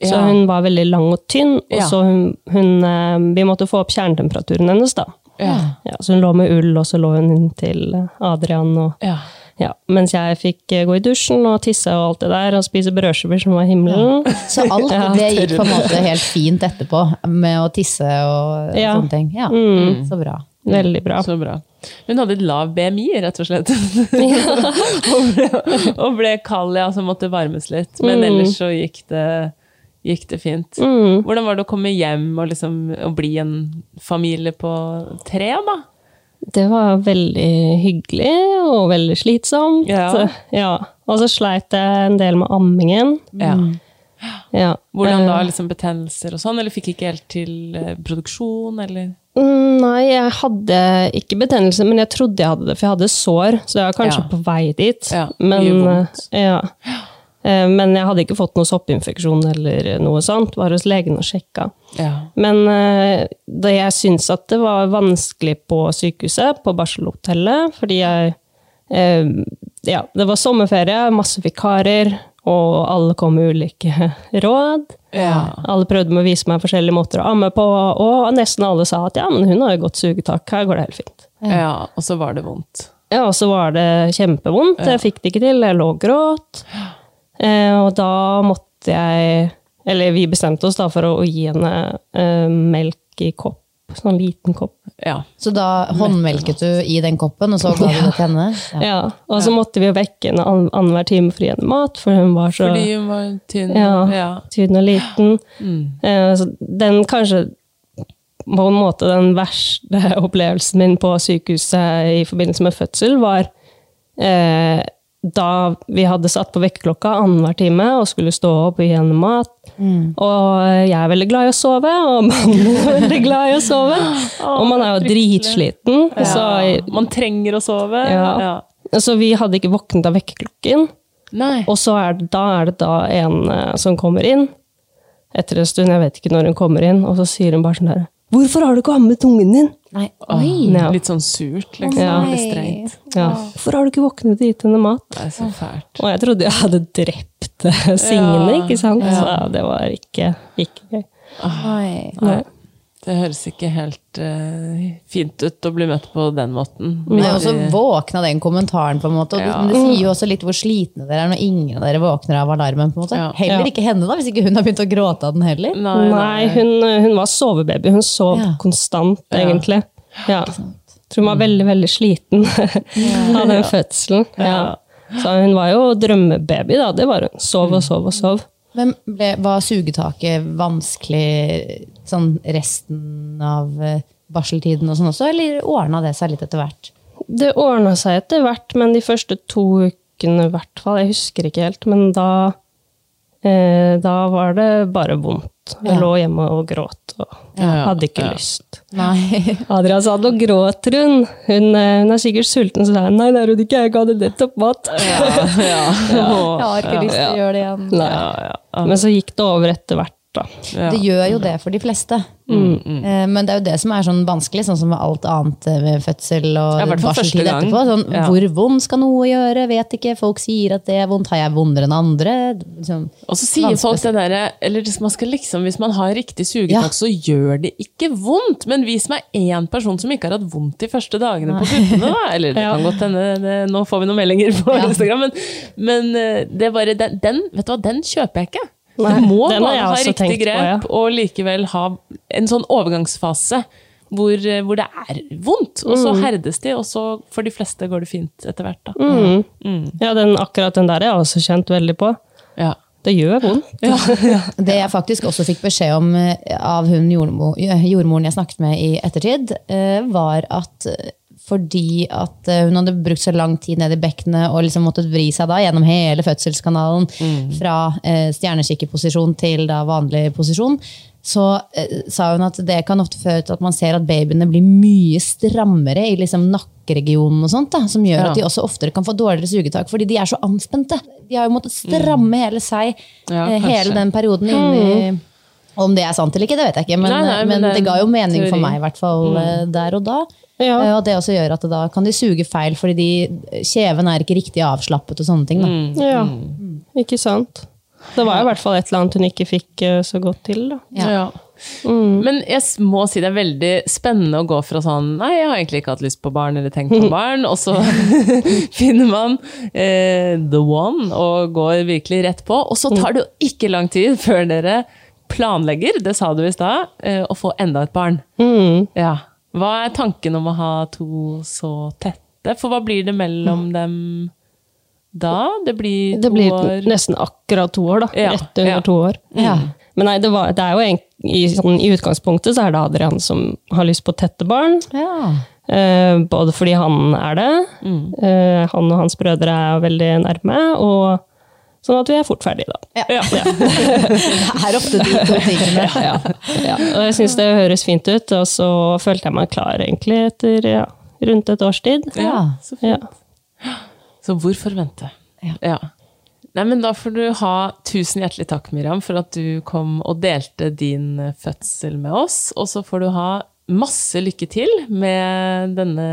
B: Så
A: Ja.
B: hun var veldig lang og tynn, og
A: Ja.
B: så hun, hun eh, Vi måtte få opp kjernetemperaturen hennes, da.
A: Ja.
B: Ja, så hun lå med ull, og så lå hun inntil Adrian og
A: Ja.
B: Ja, mens jeg fikk eh, gå i dusjen og tisse og alt det der, og spise brødskiver som var himmelen.
C: Så alt det gikk på en måte helt fint etterpå, med å tisse og
B: Ja.
A: Mm.
C: sånne ting. Ja, Så bra.
B: Veldig bra.
A: Så bra. Hun hadde et lav BMI, rett og slett. og, ble, og ble kald, ja, så måtte varmes litt. Men ellers så gikk det, gikk det fint. Hvordan var det å komme hjem og, liksom, og bli en familie på tre, da?
B: Det var veldig hyggelig og veldig slitsomt.
A: Ja.
B: Så, ja. Og så sleit jeg en del med ammingen.
A: Ja.
B: Ja.
A: Mm. Hvordan da?
B: Eh,
A: liksom Betennelser og sånn? Eller fikk ikke helt til eh, produksjon, eller?
B: mm, Nei, jeg hadde ikke betennelse, men jeg trodde jeg hadde det, for jeg hadde sår, så jeg var kanskje
A: Ja.
B: på vei dit.
A: Ja,
B: men,
A: mye vondt.
B: eh, ja. Eh, Men jeg hadde ikke fått noe soppinfeksjon eller noe sånt. Var hos legen og sjekka.
A: Ja.
B: Men eh, da jeg syntes at det var vanskelig på sykehuset, på barselhotellet, fordi jeg eh, Ja, det var sommerferie, masse vikarer, og alle kom med ulike råd. Alle prøvde med å vise meg forskjellige måter å amme på, og nesten alle sa at ja, men hun har jo godt sugetak, her går det helt fint.
A: Ja, og så var det vondt.
B: Ja, og så var det kjempevondt. Jeg fikk det ikke til. Jeg lå og gråt. Eh, og da måtte jeg Eller vi bestemte oss da for å, å gi henne eh, melk i kopp. Sånn liten kopp.
A: Ja.
C: Så da håndmelket du i den koppen, og så ga du det til henne?
B: Ja. Og så måtte vi jo vekke henne ann- annenhver time for å gi henne mat, for hun var så
A: Fordi hun var tynn.
B: Ja.
A: ja.
B: tynn og liten. Eh, så den kanskje på en måte den verste opplevelsen min på sykehuset i forbindelse med fødsel, var eh, da vi hadde satt på vekkerklokka annenhver time og skulle stå opp og gi henne mat. Og jeg er veldig glad i å sove, og mannen min er veldig glad i å sove. Og man er jo dritsliten. Så,
A: Man trenger å sove.
B: ja. så vi hadde ikke våknet av vekkerklokken.
A: Nei.
B: Og så er det, da er det da en eh, som kommer inn, etter en stund, jeg vet ikke når hun kommer inn, og så sier hun bare sånn der, hvorfor har du ikke ammet ungen din?
C: Nei.
B: Ja.
A: Litt sånn surt, liksom.
B: Ja.
A: Veldig strengt.
B: Ja. Hvorfor har du ikke våknet og gitt henne mat?
A: Det er så fælt.
B: Og jeg trodde jeg hadde drept eh, Signe,
A: Ja.
B: ikke sant? Så det var ikke, ikke gøy.
E: Oi.
B: Nei.
A: Det høres ikke helt eh, fint ut å bli møtt på den måten.
C: Men jeg også våkna den kommentaren, på en måte. Og
A: Ja.
C: det sier jo også litt hvor slitne dere er når ingen av dere våkner av alarmen. på en måte.
A: Ja.
C: Heller ikke henne, da, hvis ikke hun har begynt å gråte av den heller.
A: Nei,
B: Nei, hun, hun var sovebaby. Hun sov
C: Ja.
B: konstant, egentlig. Ja. Tror hun var veldig, veldig sliten av den fødselen. Ja. Så hun var jo drømmebaby, da. Det var hun. Sov og sov og sov.
C: Men ble, var sugetaket vanskelig sånn resten av eh, barseltiden og sånn også, eller ordna det seg litt etter hvert?
B: Det ordna seg etter hvert, men de første to ukene i hvert fall. Jeg husker ikke helt, men da eh, Da var det bare vondt. Jeg
C: Ja.
B: lå hjemme og gråt og
A: ja,
B: hadde ikke
A: ja.
B: lyst.
C: Nei.
B: Adrian sa nå gråter hun. Hun, eh, hun er sikkert sulten, så sa jeg nei, det er hun ikke, jeg ga henne nettopp mat.
E: Jeg har ikke lyst til å gjøre det igjen.
B: Nei. Men så gikk det over etter hvert, da.
C: Det gjør jo det for de fleste.
A: Mm,
C: Eh, Men det er jo det som er sånn vanskelig, sånn som med alt annet eh, med fødsel
A: Ja, i
C: og
A: hvert fall første
C: barseltid
A: gang.
C: etterpå. Sånn,
A: Ja.
C: Hvor vondt skal noe gjøre? Vet ikke. Folk sier at det er vondt. Har jeg vondere enn andre? Liksom.
A: Og så sier folk det derre Eller liksom, man skal liksom, hvis man har riktig sugetak,
C: Ja.
A: så gjør det ikke vondt. Men vis meg én person som ikke har hatt vondt de første dagene på puppene, da. Eller det kan godt hende det- Nå får vi noen meldinger på Instagram, men, men eh, det er bare den, den Vet du hva, den kjøper jeg ikke.
B: Nei,
A: det må
B: den har
A: bare
B: jeg
A: ha
B: også
A: riktig
B: tenkt på,
A: grep,
B: ja.
A: og likevel ha en sånn overgangsfase. Hvor, eh, hvor det er vondt, og så
B: Mm.
A: herdes de, og så for de fleste går det fint etter hvert. Da.
B: Ja, den, akkurat den der har jeg også kjent veldig på.
A: Ja.
B: Det gjør vondt.
C: Det jeg faktisk også fikk beskjed om eh, av hun jordmo, eh, jordmoren jeg snakket med i ettertid, eh, var at eh, fordi at eh, hun hadde brukt så lang tid ned i bekkenet og liksom måttet vri seg da gjennom hele fødselskanalen,
A: Mm.
C: fra eh, stjernekikkerposisjon til da vanlig posisjon, så eh, sa hun at det kan ofte føre til at man ser at babyene blir mye strammere i liksom nakkeregionen, og sånt da, som gjør at de også oftere kan få dårligere sugetak, fordi de er så anspente. De har jo måttet stramme hele seg
A: Mm. Ja,
C: eh, hele
A: kanskje.
C: den perioden inn
B: Mm.
C: i Om det er sant eller ikke, det vet jeg ikke, men,
A: Nei, nei, men
C: men,
A: det er
C: det ga jo
A: en
C: mening for
A: teori.
C: meg, i hvert fall eh, der og da.
B: Mm. Ja.
C: Eh, Og det også gjør at det da kan de suge feil, fordi de, kjeven er ikke riktig avslappet og sånne ting. Da.
B: Ja, ikke sant. Det var i hvert fall et eller annet hun ikke fikk eh, så godt til, da.
C: Ja.
A: Ja.
B: Mm.
A: Men jeg s- må si det er veldig spennende å gå fra sånn Nei, jeg har egentlig ikke hatt lyst på barn eller tenkt på barn, og så finner man eh, the one og går virkelig rett på. Og så tar det jo ikke lang tid
B: Mm.
A: før dere planlegger, det sa du i stad, eh, å få enda et barn. Ja. Hva er tanken om å ha to så tette? For hva blir det mellom dem da? Det blir to
B: Det blir
A: år
B: nesten akkurat to år, da.
A: Ja,
B: Rett under
A: ja. Mm.
B: to år. Men nei, det, var, det er jo en, i, sånn, i utgangspunktet så er det Adrian som har lyst på tette barn.
C: Ja.
B: Eh, både fordi han er det,
A: Mm.
B: eh, han og hans brødre er veldig nærme, og sånn at vi er fort ferdige, da.
C: Det er ofte de to tingene.
B: Ja, og jeg syns det høres fint ut, og så følte jeg meg klar egentlig etter ja, rundt et års tid.
A: Ja, så fint.
B: Ja.
A: Så hvorfor vente?
C: Ja.
A: Nei, men da får du ha tusen hjertelig takk, Miriam, for at du kom og delte din eh, fødsel med oss. Og så får du ha masse lykke til med denne